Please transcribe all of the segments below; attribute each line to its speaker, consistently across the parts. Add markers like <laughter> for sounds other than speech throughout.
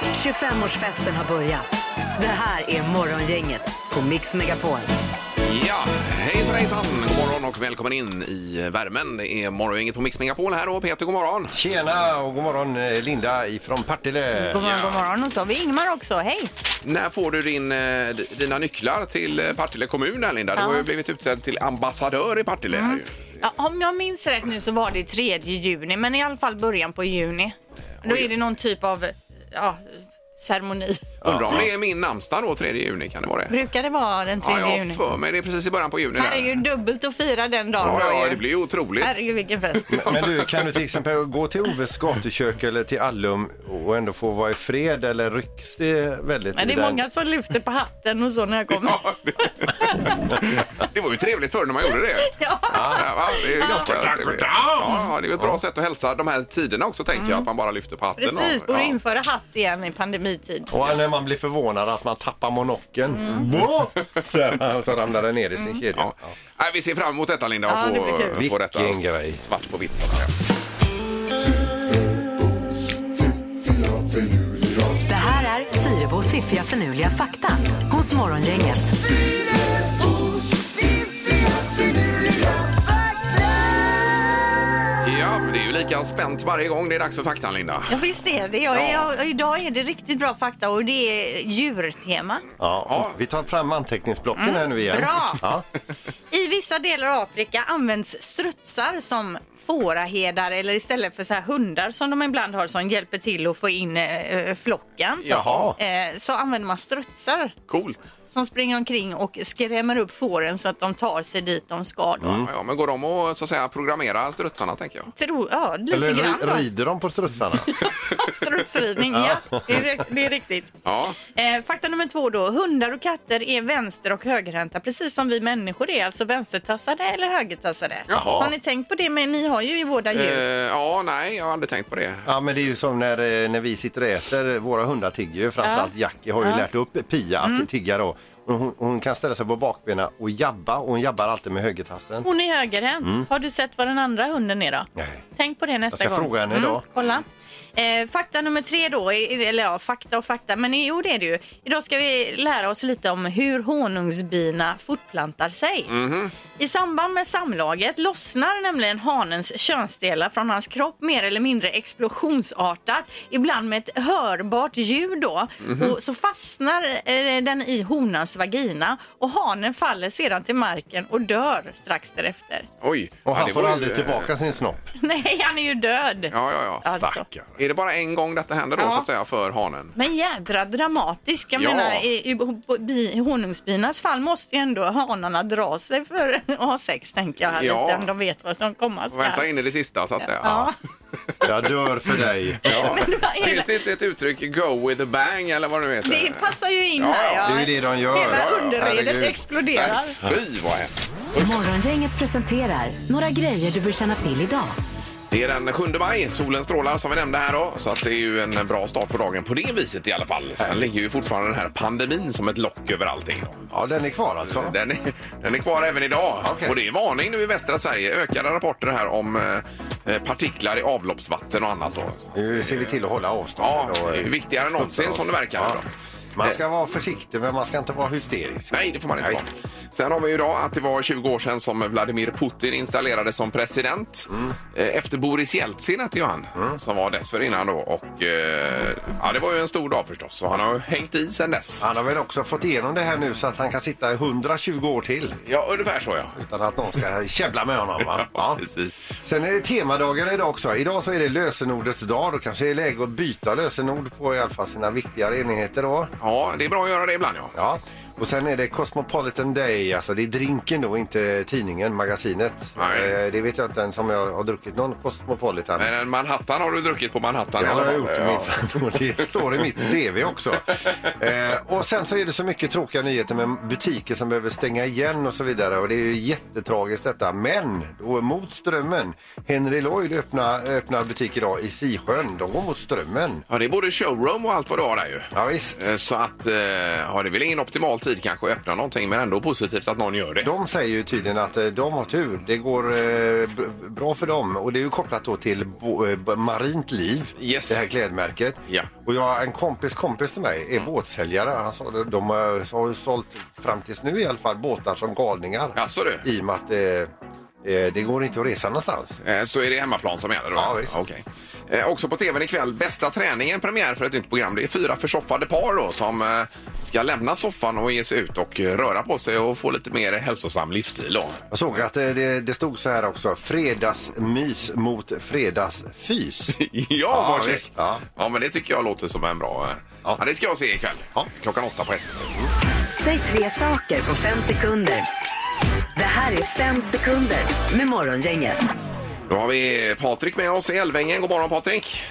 Speaker 1: 25-årsfesten har börjat. Det här är Morgongänget på Mix Megapol.
Speaker 2: Ja, hejsan hejsan! God morgon och välkommen in i värmen. Det är morgongänget på Mix Megapol här och Peter, god morgon!
Speaker 3: Tjena och god morgon eh, Linda ifrån Partille.
Speaker 4: God morgon, god morgon. Och så har vi Ingmar också. Hej!
Speaker 2: När får du din, eh, d- dina nycklar till eh, Partille kommun här, Linda? Du har ju blivit utsedd till ambassadör i Partille. här ju.
Speaker 4: Mm. Ja, om jag minns rätt nu så var det 3 juni, men i alla fall början på juni. Då är det någon typ av ja, ceremoni.
Speaker 2: Undrar om det är min namnsdag då, 3 juni, kan det vara det?
Speaker 4: Brukar det vara den 3
Speaker 2: Ja, jag har
Speaker 4: juni?
Speaker 2: för mig det är precis i början på juni.
Speaker 4: Här är ju
Speaker 2: Där.
Speaker 4: dubbelt att fira den dagen.
Speaker 2: Ja,
Speaker 4: då
Speaker 2: ja,
Speaker 4: ju.
Speaker 2: det blir ju otroligt.
Speaker 4: Herregud vilken fest.
Speaker 3: Men du, kan du till exempel gå till Oves gatukök eller till Allum och ändå få vara i fred eller rycks det väldigt
Speaker 4: Men det
Speaker 3: i
Speaker 4: är
Speaker 3: den?
Speaker 4: många som lyfter på hatten och så när jag kommer.
Speaker 2: Ja, det- det var ju trevligt förr när man gjorde det.
Speaker 4: <laughs> Ja.
Speaker 2: va? det är ju ganska trevligt. Ja, det är ju ett bra sätt att hälsa de här tiderna också, tänker jag, att man bara lyfter på hatten. och-
Speaker 4: Mm. Precis, borde
Speaker 2: ja.
Speaker 4: införa hatt igen i pandemitid.
Speaker 3: Och när man blir förvånad att man tappar monokeln. Va? <laughs> Så, här, så ramlar den ner i sin kedja.
Speaker 2: Ja. Nej, vi ser fram emot detta, Linda,
Speaker 4: Ja,
Speaker 2: och
Speaker 4: det blir kul.
Speaker 2: få, få detta
Speaker 3: Vilken grej.
Speaker 2: svart på vitt. så att säga.
Speaker 1: Det här är Fyrebos fiffiga förnuliga fakta hos Morgongänget.
Speaker 2: Ja, det är ju lika spänt varje gång det är dags för faktan, Linda.
Speaker 4: Ja, visst är det. Jag,
Speaker 2: Ja.
Speaker 4: jag, idag är det riktigt bra fakta och det är djurtema.
Speaker 3: Ja, och Vi tar fram anteckningsblocken här nu igen.
Speaker 4: bra.
Speaker 3: Ja.
Speaker 4: I vissa delar av Afrika används strutsar som fåraherdar eller istället för så här hundar som de ibland har som hjälper till att få in eh, flocken.
Speaker 2: Jaha.
Speaker 4: Eh, så använder man strutsar
Speaker 2: Coolt.
Speaker 4: som springer omkring och skrämmer upp fåren så att de tar sig dit de ska. Då.
Speaker 2: Ja, ja, men går de att så att säga, programmera strutsarna, tänker jag?
Speaker 4: Tro, ja, lite
Speaker 3: Eller
Speaker 4: grann
Speaker 3: ri- rider de på strutsarna?
Speaker 4: då. <laughs> Strutsridning, ja. Det är, det är riktigt.
Speaker 2: Ja.
Speaker 4: Eh, fakta nummer två då. Hundar och katter är vänster och högerhänta precis som vi människor är. Alltså vänstertassade eller högertassade.
Speaker 2: Jaha.
Speaker 4: Har ni tänkt på det? Men ni har ju i vårda
Speaker 2: Eh,
Speaker 4: djur.
Speaker 2: ja, nej, jag har aldrig tänkt på det.
Speaker 3: Ja, men det är ju som när, eh, när vi sitter och äter. Våra hundar tigger ju. Framförallt Jackie har ju lärt upp Pia att tigga då. Och Hon, hon kan ställa sig på bakbenen och jabba och hon jabbar alltid med högertassen.
Speaker 4: Hon är högerhänt. Har du sett vad den andra hunden är då?
Speaker 3: Nej.
Speaker 4: Tänk på det nästa
Speaker 3: Jag ska
Speaker 4: gång. Mm,
Speaker 3: fråga henne idag.
Speaker 4: kolla. Eh, fakta nummer tre då, eh, eller ja, fakta och fakta, men jo det är det ju. Idag ska vi lära oss lite om hur honungsbina fortplantar sig.
Speaker 3: Mhm.
Speaker 4: I samband med samlaget lossnar nämligen hanens könsdelar från hans kropp mer eller mindre explosionsartat, ibland med ett hörbart ljud då.
Speaker 3: Mhm.
Speaker 4: Och så fastnar eh, den i honans vagina och hanen faller sedan till marken och dör strax därefter. <laughs>
Speaker 2: Oj.
Speaker 3: Och
Speaker 2: ja,
Speaker 3: han
Speaker 2: det
Speaker 3: får
Speaker 2: var ju,
Speaker 3: aldrig
Speaker 2: eh,
Speaker 3: tillbaka sin snopp.
Speaker 4: Nej, han är ju död.
Speaker 2: Ja, ja, ja.
Speaker 4: Alltså.
Speaker 2: Stackare. Är det bara en gång detta händer då,
Speaker 4: Ja.
Speaker 2: så att säga, för hanen?
Speaker 4: Men jädra dramatisk. Jag
Speaker 2: Ja.
Speaker 4: menar, i, i, på- bi, i honungsbinas fall måste ju ändå hanarna dra sig för att ha sex, tänker jag. här
Speaker 2: Ja.
Speaker 4: Lite, om de vet vad som komma ska.
Speaker 2: Vänta in i det sista, så att säga.
Speaker 4: Ja.
Speaker 3: Jag dör för dig.
Speaker 2: Ja.
Speaker 4: <laughs> Men vad är
Speaker 2: Finns det inte ett uttryck, go with a bang, eller vad det nu heter?
Speaker 4: Det passar ju in
Speaker 2: Ja,
Speaker 4: här.
Speaker 2: ja,
Speaker 3: det är ju det de gör.
Speaker 4: Hela
Speaker 3: Ja, ja,
Speaker 4: underredet
Speaker 3: herregud.
Speaker 4: exploderar.
Speaker 2: Nej, fy vad hemskt.
Speaker 1: Morgongänget presenterar några grejer du bör känna till idag.
Speaker 2: Det är den 7 maj, solen strålar som vi nämnde här då, så att det är ju en bra start på dagen på det viset i alla fall. Sen ligger ju fortfarande den här pandemin som ett lock över allting. Då.
Speaker 3: Ja, den är kvar alltså.
Speaker 2: Den är, den är kvar även idag.
Speaker 3: Okej.
Speaker 2: Och det är varning nu i västra Sverige. Ökade rapporter här om eh, partiklar i avloppsvatten och annat. Då.
Speaker 3: Nu ser vi till att hålla
Speaker 2: Ja,
Speaker 3: avstånd.
Speaker 2: det är ju viktigare än någonsin som det verkar. nu Då.
Speaker 3: Man ska vara försiktig, men man ska inte vara hysterisk.
Speaker 2: Nej, det får man inte
Speaker 3: Nej.
Speaker 2: vara. Sen har vi ju idag att det var 20 år sedan som Vladimir Putin installerades som president.
Speaker 3: Mm.
Speaker 2: Eh, Efter Boris Jeltsin hette ju han, som var dessförinnan då. Och, eh, ja, det var ju en stor dag förstås, så han har ju hängt i sedan dess.
Speaker 3: Han har väl också fått igenom det här nu så att han kan sitta i 120 år till
Speaker 2: Ja, ungefär så ja.
Speaker 3: utan att någon ska käbbla med honom. Va?
Speaker 2: <laughs> Ja, precis.
Speaker 3: Sen är det temadagar idag också. Idag så är det lösenordets dag och kanske är det läge att byta lösenord på i alla fall sina viktigare enheter då.
Speaker 2: Ja, det är bra att göra det ibland ja.
Speaker 3: Ja. Och sen är det Cosmopolitan Day, alltså det är drinken då, inte tidningen, magasinet.
Speaker 2: Nej.
Speaker 3: Eh, Det vet jag inte ens om jag har druckit någon Cosmopolitan.
Speaker 2: Men en Manhattan har du druckit på Manhattan
Speaker 3: Det
Speaker 2: i alla
Speaker 3: har jag
Speaker 2: fall.
Speaker 3: gjort
Speaker 2: Ja.
Speaker 3: minsann och <laughs> det står i mitt CV också. Eh, och sen så är det så mycket tråkiga nyheter med butiker som behöver stänga igen och så vidare och det är ju jättetragiskt detta. Men då mot strömmen. Henry Lloyd öppnar, öppnar butik idag i Sisjön. De går mot strömmen.
Speaker 2: Ja, det är både showroom och allt vad du har där ju.
Speaker 3: Ja, visst.
Speaker 2: Eh, Så att, eh, ja, det är väl ingen optimal tid kanske att öppna någonting men ändå positivt att någon gör det.
Speaker 3: De säger ju tydligen att eh, de har tur. Det går eh, b- bra för dem. Och det är ju kopplat då till bo, eh, b- Marint liv,
Speaker 2: Yes.
Speaker 3: det här klädmärket.
Speaker 2: Ja. Mm.
Speaker 3: Och jag, en kompis kompis till mig är båtsäljare. Han sa, det, de har har ju sålt, fram tills nu i alla fall, båtar som galningar.
Speaker 2: Jaså, du?
Speaker 3: I och med att eh, eh, det går inte att resa någonstans.
Speaker 2: Eh, Så är det hemmaplan som gäller då?
Speaker 3: Ja, visst.
Speaker 2: Okej. Eh, Också på tvn ikväll, bästa träningen, premiär för ett nytt program. Det är fyra försoffade par då som eh, ska lämna soffan och ge sig ut och eh, röra på sig och få lite mer hälsosam livsstil då.
Speaker 3: Jag såg att eh, det, det stod så här också. Fredagsmys mot
Speaker 2: <laughs>
Speaker 3: fredagsfys.
Speaker 2: Ja,
Speaker 3: <laughs> Ja,
Speaker 2: vad
Speaker 3: visst.
Speaker 2: käckt. Ja.
Speaker 3: Ja.
Speaker 2: men det tycker jag låter som en bra... eh, Ja.
Speaker 3: Ja.
Speaker 2: det ska jag se ikväll. Klockan åtta på SVT.
Speaker 1: Säg tre saker på fem sekunder. Det här är fem sekunder med Morgongänget.
Speaker 2: Då har vi eh, Patrik med oss i Älvängen. God morgon Patrik!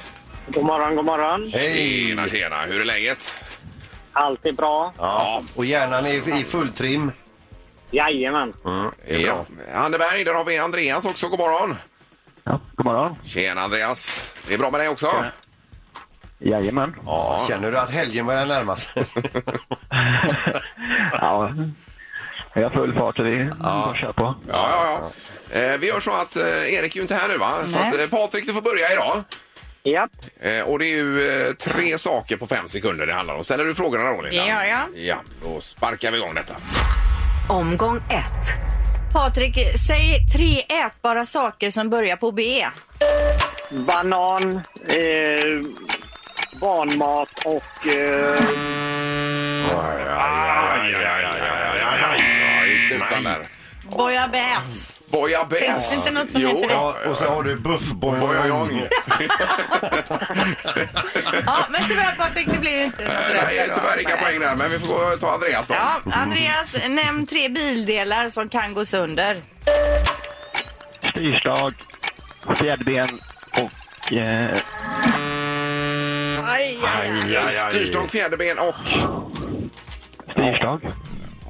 Speaker 5: God morgon, god morgon.
Speaker 3: Hej!
Speaker 2: Tjena, tjena! Hur är läget?
Speaker 5: Allt är bra.
Speaker 2: Ja.
Speaker 3: Och hjärnan är i full trim.
Speaker 5: Jajamän.
Speaker 3: Mm.
Speaker 2: ja. Anneberg, där har vi Andreas också. God morgon!
Speaker 6: Ja, god morgon.
Speaker 2: Tjena Andreas! Det är bra med dig också?
Speaker 6: Jajamän. Ja.
Speaker 3: Känner du att helgen börjar närma sig?
Speaker 6: ja. Jag har full fart så det är bara att köra på.
Speaker 2: Ja, ja, ja. Eh, vi gör så att eh, Erik är ju inte här nu va? Så
Speaker 4: Nej.
Speaker 2: att, eh, Patrik, du får börja idag.
Speaker 5: Japp.
Speaker 2: Eh, och det är ju eh, tre saker på fem sekunder det handlar om. Ställer du frågorna då, Linda?
Speaker 4: Det gör jag.
Speaker 2: Ja, då sparkar vi igång detta.
Speaker 1: Omgång ett.
Speaker 4: Patrik, säg tre ätbara saker som börjar på B.
Speaker 5: Banan, eh, barnmat och... Eh,
Speaker 2: Aj, aj, aj, aj, aj, aj, aj, aj. Ja, sluta där.
Speaker 4: Bojabäs.
Speaker 2: Bojabäs.
Speaker 4: Finns det inte något som
Speaker 2: jo,
Speaker 4: heter det?
Speaker 2: Ja,
Speaker 3: Ja, och så har du buffbojong.
Speaker 2: Bojajong.
Speaker 4: Ja, men tyvärr Patrik, det blev ju inte något
Speaker 2: Nej, tyvärr inga poäng där, men vi får gå och ta Andreas då.
Speaker 4: Ja, Andreas, nämn tre bildelar som kan gå sönder.
Speaker 6: Styrslag, fjäderben och... Eh,
Speaker 2: Styrstång, fjäderben och...
Speaker 6: styrslag?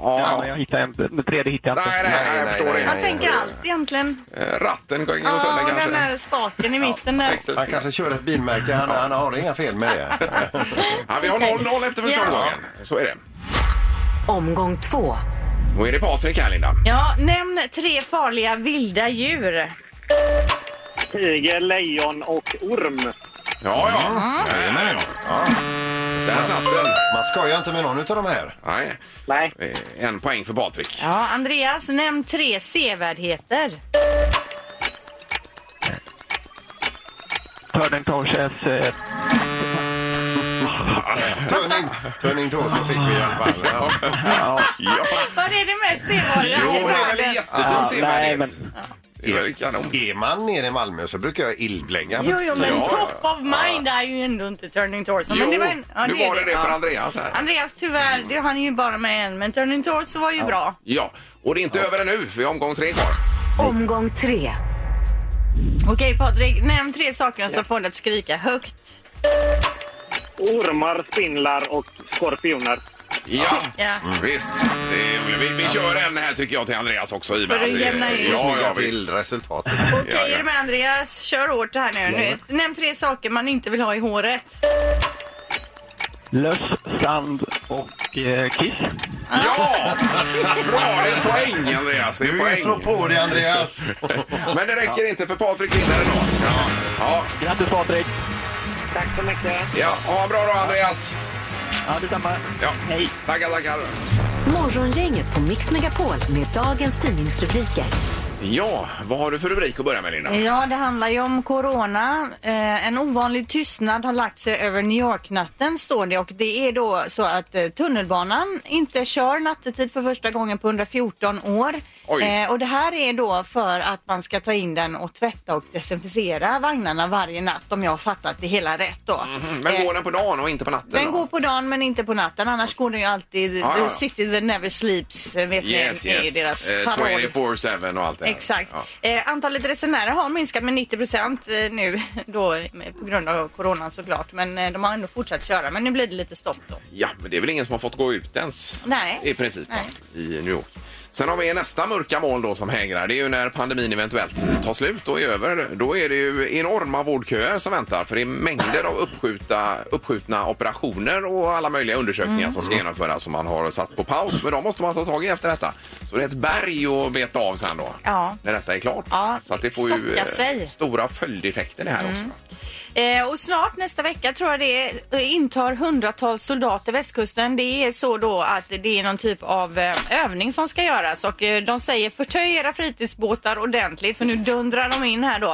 Speaker 6: Ja, men jag hittade inte. Den tredje hittade jag
Speaker 2: Nej, nej,
Speaker 6: inte.
Speaker 2: nej, jag
Speaker 3: nej,
Speaker 2: förstår
Speaker 3: nej,
Speaker 2: det.
Speaker 4: Jag tänker allt egentligen.
Speaker 2: Eh, Ratten går
Speaker 4: Ja,
Speaker 2: går sönder
Speaker 4: den
Speaker 2: kanske.
Speaker 4: där spaken i mitten där.
Speaker 2: Växel-
Speaker 3: Han kanske kör ett bilmärke. Han, han har inga fel med det.
Speaker 2: Ja, vi har 0-0 efter första
Speaker 4: Ja.
Speaker 2: omgången. Så är det.
Speaker 1: Omgång två.
Speaker 2: Då är det Patrik här, Linda.
Speaker 4: Ja, nämn tre farliga vilda djur.
Speaker 5: tiger, lejon och orm.
Speaker 2: Ja, ja. Jajamän. Ja. Så här satt den.
Speaker 3: Man skojar inte med någon av de här.
Speaker 2: Nej.
Speaker 5: Nej,
Speaker 2: eh, En poäng för Patrik.
Speaker 4: Ja, Andreas, nämn tre sevärdheter.
Speaker 6: Turning Torches. Eh,
Speaker 3: Turning, turning då så fick vi i alla fall.
Speaker 2: Ja.
Speaker 6: ja.
Speaker 2: ja.
Speaker 4: Vad är det mest
Speaker 2: Jo, det är väl
Speaker 4: sevärdheter?
Speaker 2: en jättefin
Speaker 6: nej, men
Speaker 2: sevärdhet. Det är väl kanon.
Speaker 3: Är man nere i Malmö så brukar jag illblänga.
Speaker 4: Jo, jo, men
Speaker 2: Ja.
Speaker 4: top of mind är ju ändå inte Turning Torso.
Speaker 2: Jo,
Speaker 4: men det var en, ja,
Speaker 2: nu var det det för
Speaker 4: Ja.
Speaker 2: Andreas här.
Speaker 4: Andreas, tyvärr, det han är ju bara med en, men Turning Torso var ju bra.
Speaker 2: Ja, och det är inte över ännu, för vi har omgång tre kvar.
Speaker 1: Omgång tre.
Speaker 4: Okej, Patrik, nämn tre saker som får dig att skrika högt.
Speaker 5: ormar, spindlar och skorpioner.
Speaker 2: Ja,
Speaker 4: Ja.
Speaker 2: visst. Det är, vi, vi kör en här tycker jag till Andreas också. I och med
Speaker 4: För att
Speaker 2: det-
Speaker 4: jämna ut.
Speaker 2: Ja, ja,
Speaker 3: Snygga till
Speaker 2: visst.
Speaker 3: resultatet.
Speaker 4: Okej,
Speaker 2: Ja, ja.
Speaker 4: är du med Andreas? Kör hårt här nu. nu. Nämn tre saker man inte vill ha i håret.
Speaker 6: löss, sand och eh, kiss.
Speaker 2: Ja! Bra, det är poäng Andreas. Det är
Speaker 3: Du är så
Speaker 2: poäng.
Speaker 3: på dig Andreas.
Speaker 2: Men det räcker inte för Patrik vinner ändå. Ja. Ja.
Speaker 6: Grattis Patrik!
Speaker 5: Tack så mycket.
Speaker 2: ja, ha en bra dag Andreas.
Speaker 6: Ja, detsamma.
Speaker 2: Ja.
Speaker 6: Hej!
Speaker 2: Tackar, tackar.
Speaker 1: Morgongänget på Mix Megapol med dagens tidningsrubriker.
Speaker 2: Ja, vad har du för rubrik att börja med Linda?
Speaker 4: Ja, det handlar ju om corona. Eh, en ovanlig tystnad har lagt sig över New York-natten, står det. Och det är då så att eh, tunnelbanan inte kör nattetid för första gången på 114 år.
Speaker 2: Oj.
Speaker 4: Eh, och det här är då för att man ska ta in den och tvätta och desinficera vagnarna varje natt, om jag har fattat det hela rätt då.
Speaker 2: Mm, Men
Speaker 4: Eh,
Speaker 2: går den på dagen och inte på natten?
Speaker 4: Den
Speaker 2: då?
Speaker 4: går på dagen men inte på natten. Annars går den ju alltid
Speaker 2: Ja, Ah, ja.
Speaker 4: The City that never sleeps. eh, Vet
Speaker 2: Yes,
Speaker 4: ni, är
Speaker 2: yes.
Speaker 4: deras
Speaker 2: Eh,
Speaker 4: paroll.
Speaker 2: 24-7 och allt det här.
Speaker 4: Exakt.
Speaker 2: Ja.
Speaker 4: Eh, antalet resenärer har minskat med 90 procent nu då eh, på grund av coronan såklart. Men eh, de har ändå fortsatt köra. Men nu blir det lite stopp då.
Speaker 2: Ja, men det är väl ingen som har fått gå ut ens?
Speaker 4: Nej.
Speaker 2: I princip.
Speaker 4: Nej.
Speaker 2: I New York. Sen har vi nästa mörka moln då som hägrar. Det är ju när pandemin eventuellt tar slut och är över. Då är det ju enorma vårdköer som väntar för det är mängder av uppskjuta, uppskjutna operationer och alla möjliga undersökningar
Speaker 4: Mm.
Speaker 2: som ska genomföras som man har satt på paus. Men de måste man ta tag i efter detta. Så det är ett berg att beta av sen då.
Speaker 4: Ja.
Speaker 2: När detta är klart.
Speaker 4: Ja,
Speaker 2: Så att det får ju
Speaker 4: stocka
Speaker 2: eh,
Speaker 4: sig. Mm.
Speaker 2: stora följdeffekter det här också.
Speaker 4: Eh, och snart nästa vecka tror jag det är, eh, intar hundratals soldater västkusten. Det är så då att det är någon typ av eh, övning som ska göras och eh, de säger förtöj era fritidsbåtar ordentligt för nu dundrar de in här då.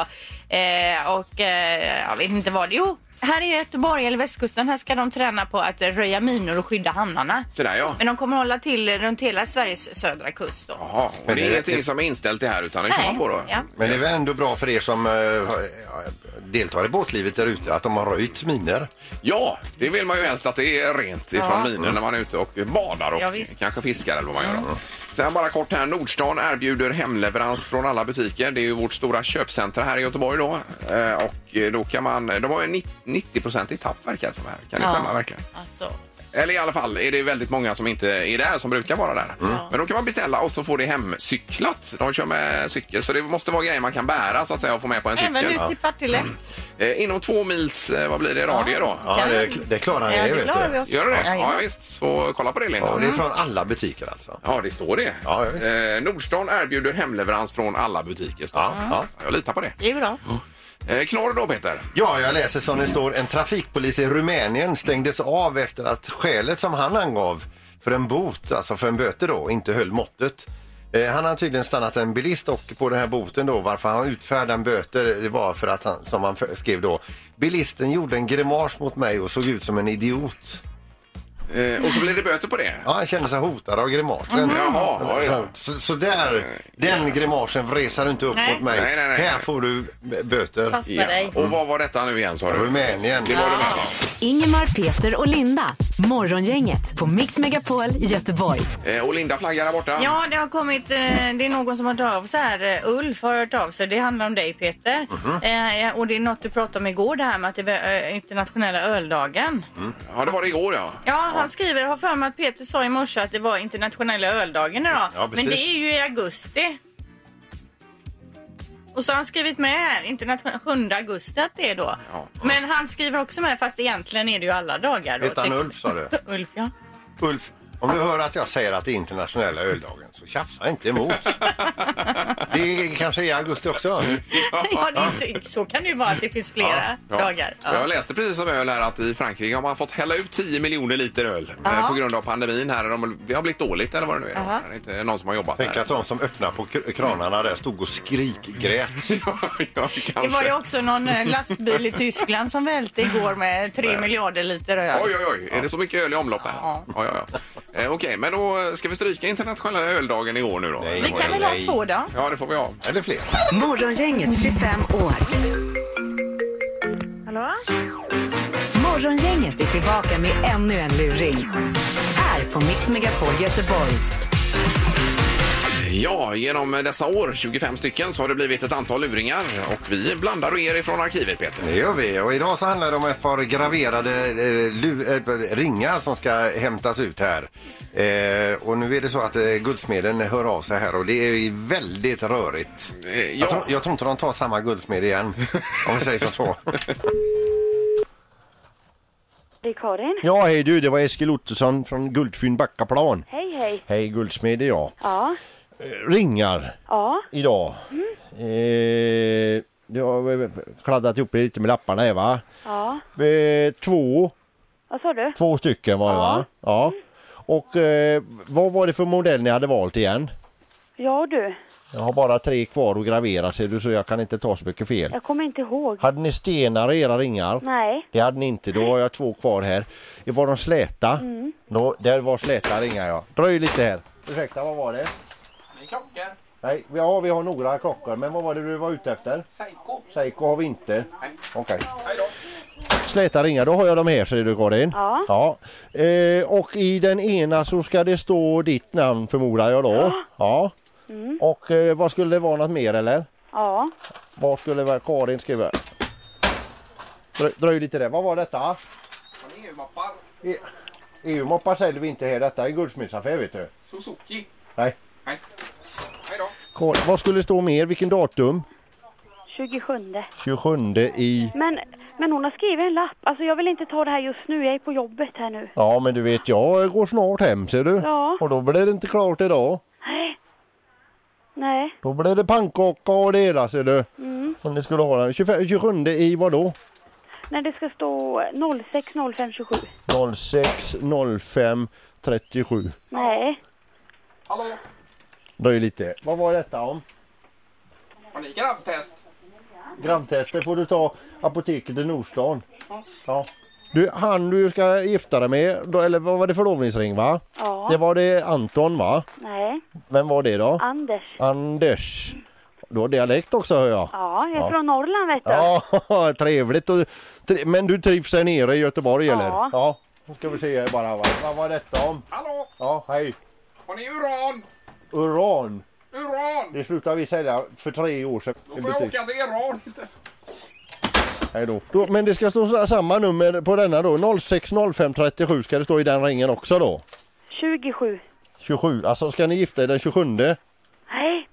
Speaker 4: Eh, och eh, jag vet inte vad det Jo, här i Göteborg eller västkusten här ska de träna på att eh, röja minor och skydda hamnarna.
Speaker 2: Sådär ja.
Speaker 4: Men de kommer hålla till runt hela Sveriges södra kust då.
Speaker 2: Jaha, och
Speaker 3: Men
Speaker 2: det
Speaker 3: det
Speaker 2: är
Speaker 3: är
Speaker 2: ingenting
Speaker 3: ett-
Speaker 2: som är inställt det här utan det kör
Speaker 4: Nej,
Speaker 2: man på då?
Speaker 4: ja.
Speaker 3: Men det är väl ändå bra för er som eh, har- deltar i båtlivet där ute att de har röjt miner.
Speaker 2: Ja, det vill man ju helst att det är rent ifrån
Speaker 4: Ja.
Speaker 2: miner när man är ute och badar och
Speaker 4: Ja, visst. Mm.
Speaker 2: kanske fiskar eller vad man gör. då. Sen bara kort här, Nordstan erbjuder hemleverans från alla butiker. Det är ju vårt stora köpcentra här i Göteborg då. Eh, Och eh, då kan man, de har ju en 90 i tapp verkar det som här. Kan det stämma verkligen?
Speaker 4: Alltså,
Speaker 2: Eller i alla fall är det väldigt många som inte är där som brukar vara där.
Speaker 4: Mm.
Speaker 2: Men då kan man beställa och så får det hemcyklat. De kör med cykel så det måste vara grejer man kan bära så att säga och få med på en cykel.
Speaker 4: även ut till Partille.
Speaker 2: Eh, Inom två mils, eh, vad blir det, radie då?
Speaker 3: Ja, det, det klarar ni
Speaker 4: Ja,
Speaker 3: er,
Speaker 4: det
Speaker 3: vet
Speaker 4: klarar vi
Speaker 3: du.
Speaker 4: oss.
Speaker 2: Gör det?
Speaker 4: Ja,
Speaker 2: Ja, visst. Så kolla på det,
Speaker 3: Ja,
Speaker 2: Linda.
Speaker 3: och det är från alla butiker alltså.
Speaker 2: Ja, det står det.
Speaker 3: Ja, ja, visst.
Speaker 2: eh, Nordstan erbjuder hemleverans från alla butiker. står det.
Speaker 3: Ja, ja.
Speaker 2: Jag litar på det.
Speaker 4: Det är bra.
Speaker 2: Eh, knorr då, Peter?
Speaker 3: Ja, jag läser som det står. En trafikpolis i Rumänien stängdes av efter att skälet som han angav för en bot, alltså för en böter då, inte höll måttet. Eh, han har tydligen stannat en bilist och på den här boten då, varför han utfärdade en böter, det var för att han, som han för- skrev då, bilisten gjorde en grimas mot mig och såg ut som en idiot.
Speaker 2: Eh, och så blir det böter på det?
Speaker 3: Ja, han kände sig hotad av grimasen.
Speaker 2: Mm. Jaha, oj då.
Speaker 3: Så, så där, den grimasen vresar inte upp
Speaker 4: Nej.
Speaker 3: mot mig.
Speaker 2: Nej, nej, nej.
Speaker 3: Här får du b- böter.
Speaker 4: Passa
Speaker 2: Ja.
Speaker 4: dig.
Speaker 2: Och vad var detta nu igen, sa du?
Speaker 3: Rumänien.
Speaker 2: Det var det med.
Speaker 1: Ingemar, Peter och Linda. Morgongänget på Mix Megapol Göteborg.
Speaker 2: Eh, och Linda flaggar där borta.
Speaker 4: Ja, det har kommit, eh, det är någon som har hört av sig här. eh, Ulf har hört av sig. Det handlar om dig Peter. eh, och det är något du pratade om igår det här med att det är eh, internationella öldagen.
Speaker 2: Ja, det var det igår, ja.
Speaker 4: Ja, han skriver, jag har för mig att Peter sa i morse att det var internationella öldagen idag.
Speaker 3: Ja,
Speaker 4: Men
Speaker 3: precis.
Speaker 4: det är ju i augusti. Och så har han skrivit med här, internationella 7 augusti att det är då.
Speaker 2: Ja.
Speaker 4: Men han skriver också med, fast egentligen är det ju alla dagar då.
Speaker 3: Hette han
Speaker 4: tycker-
Speaker 3: Ulf, sa du?
Speaker 4: <laughs> Ulf, ja.
Speaker 3: Ulf, om du hör att jag säger att det är internationella öldagen så tjafsa inte emot. Det är kanske i augusti också.
Speaker 4: ja, det är inte, så kan det ju vara att det finns flera
Speaker 2: Ja.
Speaker 4: dagar. Ja.
Speaker 2: Jag läste precis om öl här att i Frankrike har man fått hälla ut 10 miljoner liter öl eh,
Speaker 4: Ja.
Speaker 2: på grund av pandemin här. De- Det har blivit dåligt eller vad det nu är.
Speaker 4: Ja.
Speaker 2: Det är inte någon som har jobbat
Speaker 3: Tänk
Speaker 2: här.
Speaker 3: att de som öppnar på kr- kranarna där stod och skrikgrät.
Speaker 2: <laughs> ja,
Speaker 4: Det var
Speaker 2: kanske.
Speaker 4: ju också någon eh, lastbil i Tyskland som välte igår med tre miljarder liter öl.
Speaker 2: Oj, oj, oj. Är det så mycket öl i omlopp här?
Speaker 4: Ja.
Speaker 2: Oj, oj, oj. Eh, Okej, men då ska vi stryka internationella öldagen igår nu då?
Speaker 3: Nej.
Speaker 4: Vi kan väl ha
Speaker 3: Nej.
Speaker 4: två då?
Speaker 2: Ja, det får vi ha.
Speaker 3: Eller fler.
Speaker 1: Morgongänget 25 år.
Speaker 4: Hallå?
Speaker 1: Morgongänget är tillbaka med ännu en luring. Här på Mix Megapol Göteborg.
Speaker 2: Ja, genom dessa år, 25 stycken, så har det blivit ett antal luringar. Och vi blandar och ger ifrån arkivet, Peter.
Speaker 3: Det gör vi. Och idag så handlar det om ett par graverade eh, lu- eh, ringar som ska hämtas ut här. Eh, och nu är det så att eh, guldsmeden hör av sig här och det är ju väldigt rörigt.
Speaker 2: Eh, ja.
Speaker 3: Jag, tror, jag tror inte de tar samma guldsmed igen, om vi säger som så.
Speaker 7: Det är Karin.
Speaker 8: Ja, hej du, det var Eskil Ottosson från Guldfynd Backaplan.
Speaker 7: Hej, hej.
Speaker 8: Hej guldsmed är jag.
Speaker 7: Ja,
Speaker 8: Ringar
Speaker 7: ja, Mm.
Speaker 8: idag. Eh, du har eh, kladdat ihop det lite med lapparna här va?
Speaker 7: ja.
Speaker 8: Eh, två,
Speaker 7: Vad sa du?
Speaker 8: två stycken var det va? Ja. Och eh, vad var det för modell ni hade valt igen?
Speaker 7: Ja, du.
Speaker 8: Jag har bara tre kvar att gravera ser du så jag kan inte ta så mycket fel.
Speaker 7: Jag kommer inte ihåg.
Speaker 8: Hade ni stenar i era ringar?
Speaker 7: Nej.
Speaker 8: Det hade ni inte, då har jag två kvar här. Var de släta?
Speaker 7: Mm.
Speaker 8: Då, där var släta ringar jag. Dröj lite här. Ursäkta, vad var det? Nej, vi- ja, vi har några klockor, men vad var det du var ute efter? Seiko. Seiko har vi inte. Okej. Släta ringar, då har jag dem här ser du Karin.
Speaker 7: Ja.
Speaker 8: ja. Eh, och i den ena så ska det stå ditt namn förmodar jag då. Ja.
Speaker 9: Mm.
Speaker 8: Och eh, vad skulle det vara något mer eller?
Speaker 7: Ja,
Speaker 8: Vad skulle det vara? Karin skriver. Dröj, dröj lite där. Vad var detta? E- EU-moppar. EU-moppar säljer vi inte här. Detta är guldsmedsaffär vet du.
Speaker 2: Suzuki.
Speaker 8: Nej.
Speaker 2: Hej. Hej då.
Speaker 8: Kol- Vad skulle det stå mer? Vilken datum?
Speaker 9: 27.
Speaker 8: 27 i...
Speaker 9: Men, men hon har skrivit en lapp. Alltså jag vill inte ta det här just nu. Jag är på jobbet här nu.
Speaker 8: Ja, men du vet, jag går snart hem ser du.
Speaker 9: Ja.
Speaker 8: Och då blir det inte klart idag.
Speaker 9: Nej. Nej. Mm.
Speaker 8: Då blir det pannkaka och det hela ser du. Om ni skulle ha den. 25, 27 i vad då?
Speaker 9: Nej, det ska stå 060527.
Speaker 8: 06 05 37.
Speaker 9: Nej.
Speaker 8: Dröj lite. Vad var detta om?
Speaker 2: Har ni grabbtest?
Speaker 8: Gravtester får du ta apoteket i Nordstan. Ja. Du, han du ska gifta dig med, då, eller vad var det förlovningsring va?
Speaker 9: Ja.
Speaker 8: Det var det Anton va?
Speaker 9: Nej.
Speaker 8: Vem var det då?
Speaker 9: Anders.
Speaker 8: Anders. Du har dialekt också hör jag.
Speaker 9: Ja, jag är från Norrland vet du.
Speaker 8: Ja, <laughs> trevligt. Och, tre, men du trivs där nere i Göteborg
Speaker 9: Ja.
Speaker 8: eller? Ja. Nu ska vi se här bara. Va? Vad var detta om?
Speaker 2: Hallå?
Speaker 8: Ja, hej.
Speaker 2: Har ni uran?
Speaker 8: Uran.
Speaker 2: Uran!
Speaker 8: Det slutade vi sälja för tre år sedan. i
Speaker 2: Då får jag
Speaker 8: butik.
Speaker 2: åka till Iran istället.
Speaker 8: Hej då. Då, men det ska stå så- samma nummer på denna då. 060537 ska det stå i den ringen också då.
Speaker 9: 27.
Speaker 8: 27. Alltså ska ni gifta er den 27?
Speaker 9: Nej.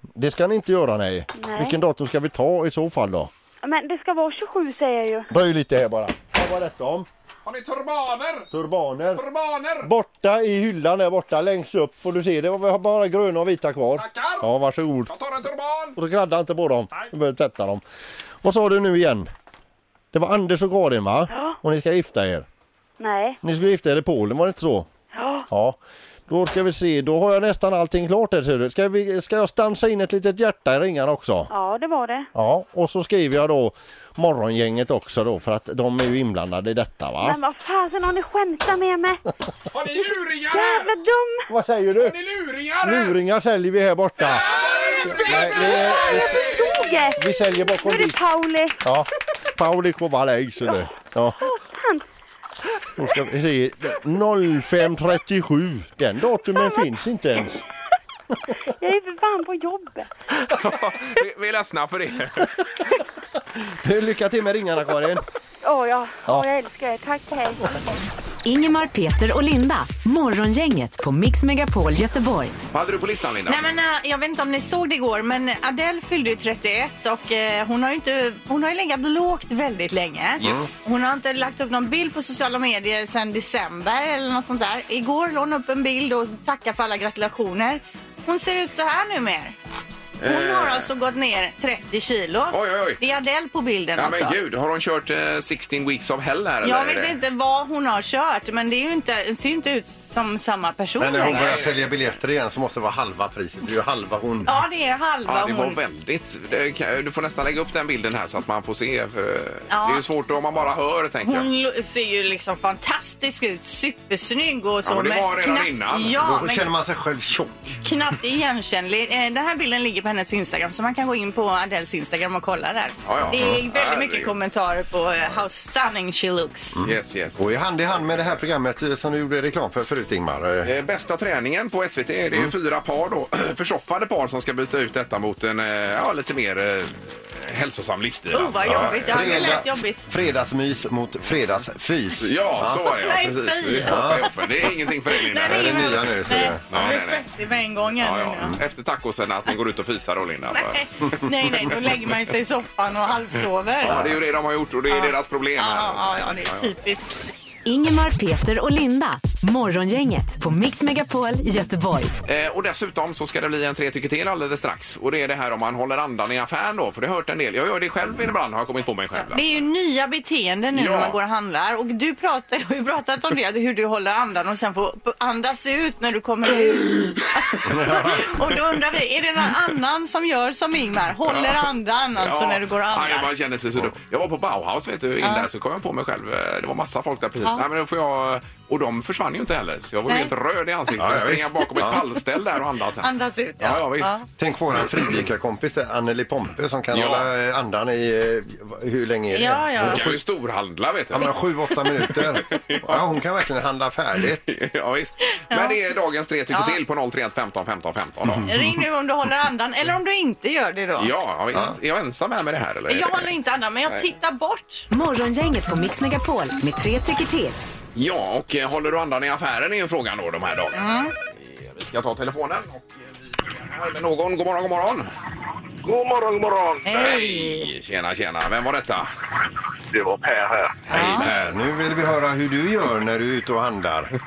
Speaker 8: Det ska ni inte göra nej.
Speaker 9: Nej.
Speaker 8: Vilken datum ska vi ta i så fall då?
Speaker 9: Men det ska vara 27 säger jag ju.
Speaker 8: Dröj lite här bara. Vad var detta om?
Speaker 2: Har ni turbaner?
Speaker 8: Turbaner.
Speaker 2: Turbaner!
Speaker 8: Borta i hyllan där borta längst upp får du se. Det var vi har bara gröna och vita kvar.
Speaker 2: Tackar!
Speaker 8: Ja, varsågod.
Speaker 2: Jag tar en turban!
Speaker 8: Och så kladda inte på dem.
Speaker 2: Nej.
Speaker 8: Du behöver tvätta dem. Vad sa du nu igen? Det var Anders och Karin va?
Speaker 9: Ja.
Speaker 8: Och ni ska gifta er.
Speaker 9: Nej.
Speaker 8: Ni skulle gifta er i Polen, var det inte så?
Speaker 9: Ja.
Speaker 8: Ja. Då ska vi se, då har jag nästan allting klart här ser du. Ska, vi, ska jag stansa in ett litet hjärta i ringan också?
Speaker 9: Ja, det var det.
Speaker 8: Ja, och så skriver jag då morgongänget också då för att de är ju inblandade i detta va?
Speaker 9: Men vad fasen har ni skämtat med mig?
Speaker 2: Har ni luringar
Speaker 9: Jävla
Speaker 2: här?
Speaker 9: dum!
Speaker 8: Vad säger du?
Speaker 2: Har ni luringar här?
Speaker 8: Luringar säljer vi här borta. Nej, vi,
Speaker 9: Toge!
Speaker 8: vi säljer
Speaker 9: Nu
Speaker 8: bakom
Speaker 9: är det
Speaker 8: dit.
Speaker 9: Pauli.
Speaker 8: Ja, Pauli Kovalej ser du. Ja,
Speaker 9: Satan!
Speaker 8: då ska vi se. 0537, den datumen finns inte ens.
Speaker 9: Jag är för fan på jobbet.
Speaker 2: Vi- Vi är ledsna för det.
Speaker 8: Lycka till med ringarna Karin.
Speaker 9: Åh ja. Åh, jag älskar er. Tack, hej.
Speaker 1: Ingemar, Peter och Linda. Morgongänget på Mix Megapol Göteborg.
Speaker 2: Vad hade du på listan Linda?
Speaker 4: Nej, men, eh, jag vet inte om ni såg det igår, men Adele fyllde ju 31 och eh, hon har ju, inte, hon har ju legat lågt väldigt länge.
Speaker 2: Yes.
Speaker 4: Hon har inte lagt upp någon bild på sociala medier sedan december eller något sånt där. Igår la hon upp en bild och tackade för alla gratulationer. Hon ser ut så här nu mer. Hon har alltså gått ner 30 kilo.
Speaker 2: Eh. Oj, oj, oj.
Speaker 4: Det är Adele på bilden
Speaker 2: Ja
Speaker 4: alltså.
Speaker 2: men gud, har hon kört eh, 16 weeks of hell här
Speaker 4: Jag
Speaker 2: eller?
Speaker 4: vet inte vad hon har kört, men det är ju inte, det ser inte ut som samma person
Speaker 3: Men när hon
Speaker 4: längre.
Speaker 3: börjar sälja biljetter igen så måste det vara halva priset. Det är ju halva hon.
Speaker 4: Ja, det är halva
Speaker 2: Ja, det var
Speaker 4: hon.
Speaker 2: väldigt. det kan- Du får nästan lägga upp den bilden här så att man får se. För eh,
Speaker 4: Ja.
Speaker 2: Det är ju svårt om man bara hör, tänker jag.
Speaker 4: Hon lo- ser ju liksom fantastisk ut, supersnygg och så.
Speaker 2: Ja, men det var
Speaker 4: men
Speaker 2: redan innan.
Speaker 4: Ja,
Speaker 3: Då
Speaker 4: men
Speaker 3: känner man sig själv tjock.
Speaker 4: knappt igenkännlig. Eh, Den här bilden ligger på hennes Instagram så man kan gå in på Adeles Instagram och kolla där.
Speaker 2: Ja, Mm. ja.
Speaker 4: Det är väldigt
Speaker 2: Herregud.
Speaker 4: mycket kommentarer på eh, how stunning she looks.
Speaker 2: Yes, yes.
Speaker 3: Och i hand i hand med det här programmet eh, som du gjorde reklam för förut Ingmar. Eh,
Speaker 2: Eh, Bästa träningen på SVT, det är
Speaker 4: Mm.
Speaker 2: ju fyra par då, <clears throat> försoffade par som ska byta ut detta mot en eh, ja, lite mer eh, hälsosam livsstil.
Speaker 3: Mm.
Speaker 2: alltså.
Speaker 4: Oh, vad
Speaker 2: Ja.
Speaker 4: jobbigt. Ja, det lät jobbigt.
Speaker 3: Fredagsmys mot fredagsfys.
Speaker 2: Ja, så var det ja,
Speaker 4: Nej,
Speaker 2: precis.
Speaker 4: fy.
Speaker 2: Det hoppar jag för. Det är ingenting för dig Linda.
Speaker 4: Nej,
Speaker 3: Det är det
Speaker 4: ingen
Speaker 3: nya
Speaker 4: över-
Speaker 3: nu ser du.
Speaker 4: Nej,
Speaker 2: nej,
Speaker 4: jag blir
Speaker 2: nej.
Speaker 4: svettig med en gång här
Speaker 2: Ja, Mm.
Speaker 4: nu.
Speaker 2: ja.
Speaker 4: ja.
Speaker 2: Efter tacosen att ni går ut och fisar då Linda.
Speaker 4: <laughs> Nej, nej, då lägger man ju sig i soffan och halvsover.
Speaker 2: Ja, det är ju det de har gjort och det är deras problem.
Speaker 4: ja,
Speaker 2: Här.
Speaker 4: ja, ja, det är typiskt.
Speaker 1: Ingemar, Peter och Linda. Morgongänget på Mix Megapol Göteborg.
Speaker 2: Eh, och dessutom så ska det bli en tre tycker till alldeles strax. Och det är det här om man håller andan i affären då, för det har jag hört en del. Jag gör det själv ibland, har jag kommit på mig själv.
Speaker 4: Det är ju nya beteenden nu
Speaker 2: Ja.
Speaker 4: när man går och handlar. Och du pratar, jag har ju pratat om det, att hur du håller andan och sen får andas ut när du
Speaker 2: <laughs>
Speaker 4: kommer ut. och då undrar vi, är det någon annan som gör som Ingmar? Håller andan alltså när du går och
Speaker 2: Nej,
Speaker 4: andar?
Speaker 2: man känner sig så dum. Jag var på Bauhaus vet du, in där så kom jag på mig själv. eh, Det var massa folk där precis. Nej, men då får jag, och de försvann ju inte heller. Så jag var ju
Speaker 4: Nej.
Speaker 2: helt röd i ansiktet.
Speaker 3: Ja,
Speaker 2: Ja,
Speaker 3: ja,
Speaker 2: springa
Speaker 3: visst.
Speaker 2: bakom ett pallställ där och andas. sen.
Speaker 4: Andas ut, ja.
Speaker 2: Ja, ja, visst.
Speaker 3: Tänk våran fridykarkompis där, Anneli Pompe som kan
Speaker 2: Ja.
Speaker 3: hålla eh, andan i eh, hur länge är det?
Speaker 4: Ja, ja.
Speaker 2: Du kan ju storhandla vet du.
Speaker 3: Ja, men sju, åtta minuter. Ja, hon kan verkligen handla färdigt.
Speaker 2: <laughs> Ja, visst. Men det är dagens tre tycker till på 031 15 15 15. Då.
Speaker 3: Mm.
Speaker 4: Ring nu om du håller andan eller om du inte gör det då.
Speaker 2: Ja, ja, visst. Är jag ensam här med det här eller?
Speaker 4: Jag håller inte andan men jag tittar bort.
Speaker 1: Morgongänget på Mix Megapol med tre tycker till.
Speaker 2: Ja, och eh, håller du andan i affären är ju frågan då de här dagarna. ska ta telefonen. Och eh, vi börjar här med någon. God morgon, god morgon.
Speaker 5: God morgon, god morgon.
Speaker 2: Hej! Tjena, tjena. Vem var detta?
Speaker 5: Det var Per här.
Speaker 3: Hej Per, nu vill vi höra hur du gör när du är ute och handlar.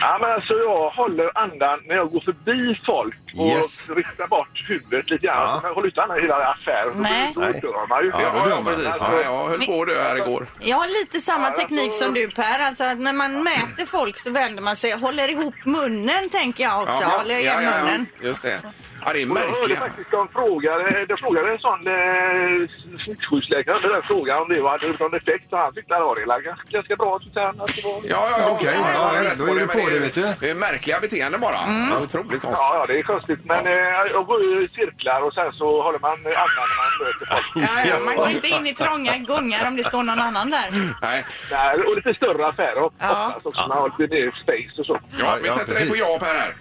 Speaker 5: Ja, men alltså jag håller andan när jag går förbi folk och
Speaker 3: Yes.
Speaker 5: riktar bort huvudet lite grann.
Speaker 3: Ja.
Speaker 5: Jag håller inte andan i hela affären.
Speaker 4: Nej.
Speaker 5: Då dör man ju.
Speaker 3: Ja, då dör man.
Speaker 2: precis.
Speaker 3: Ja.
Speaker 2: Ja, jag höll på att dö här igår.
Speaker 4: Jag har lite samma
Speaker 5: Ja, jag
Speaker 4: teknik
Speaker 5: tror-
Speaker 4: som du Per. Alltså att när man mäter folk så vänder man sig. Håller ihop munnen tänker jag också. håller igen munnen.
Speaker 2: Just det. Ja, det är
Speaker 5: Jag hörde
Speaker 2: märkliga.
Speaker 5: faktiskt de frågade, de frågade en sån eh, smittskyddsläkare den frågan om det var- hade någon effekt och han tyckte att det var det ganska, ganska bra. Tyckte han att det var.
Speaker 2: Ja, ja, ja.
Speaker 3: Okej, ja,
Speaker 2: jag
Speaker 3: ja,
Speaker 2: rätt
Speaker 3: då är du
Speaker 2: men
Speaker 3: på det, vet du.
Speaker 2: Det är märkliga beteenden bara. Det är Otroligt konstigt.
Speaker 5: Ja, ja, det är konstigt. Men eh, jag går ju i cirklar och sen så håller man andan när man möter folk.
Speaker 4: Ja, ja, man går inte in i trånga gångar om det står någon annan där.
Speaker 2: Nej.
Speaker 5: Där, och lite större affärer och-
Speaker 4: Ja.
Speaker 5: oftast också. Man har lite mer space och så.
Speaker 2: Ja, vi
Speaker 3: Ja,
Speaker 2: sätter dig
Speaker 3: precis.
Speaker 2: på ja, Per. Här.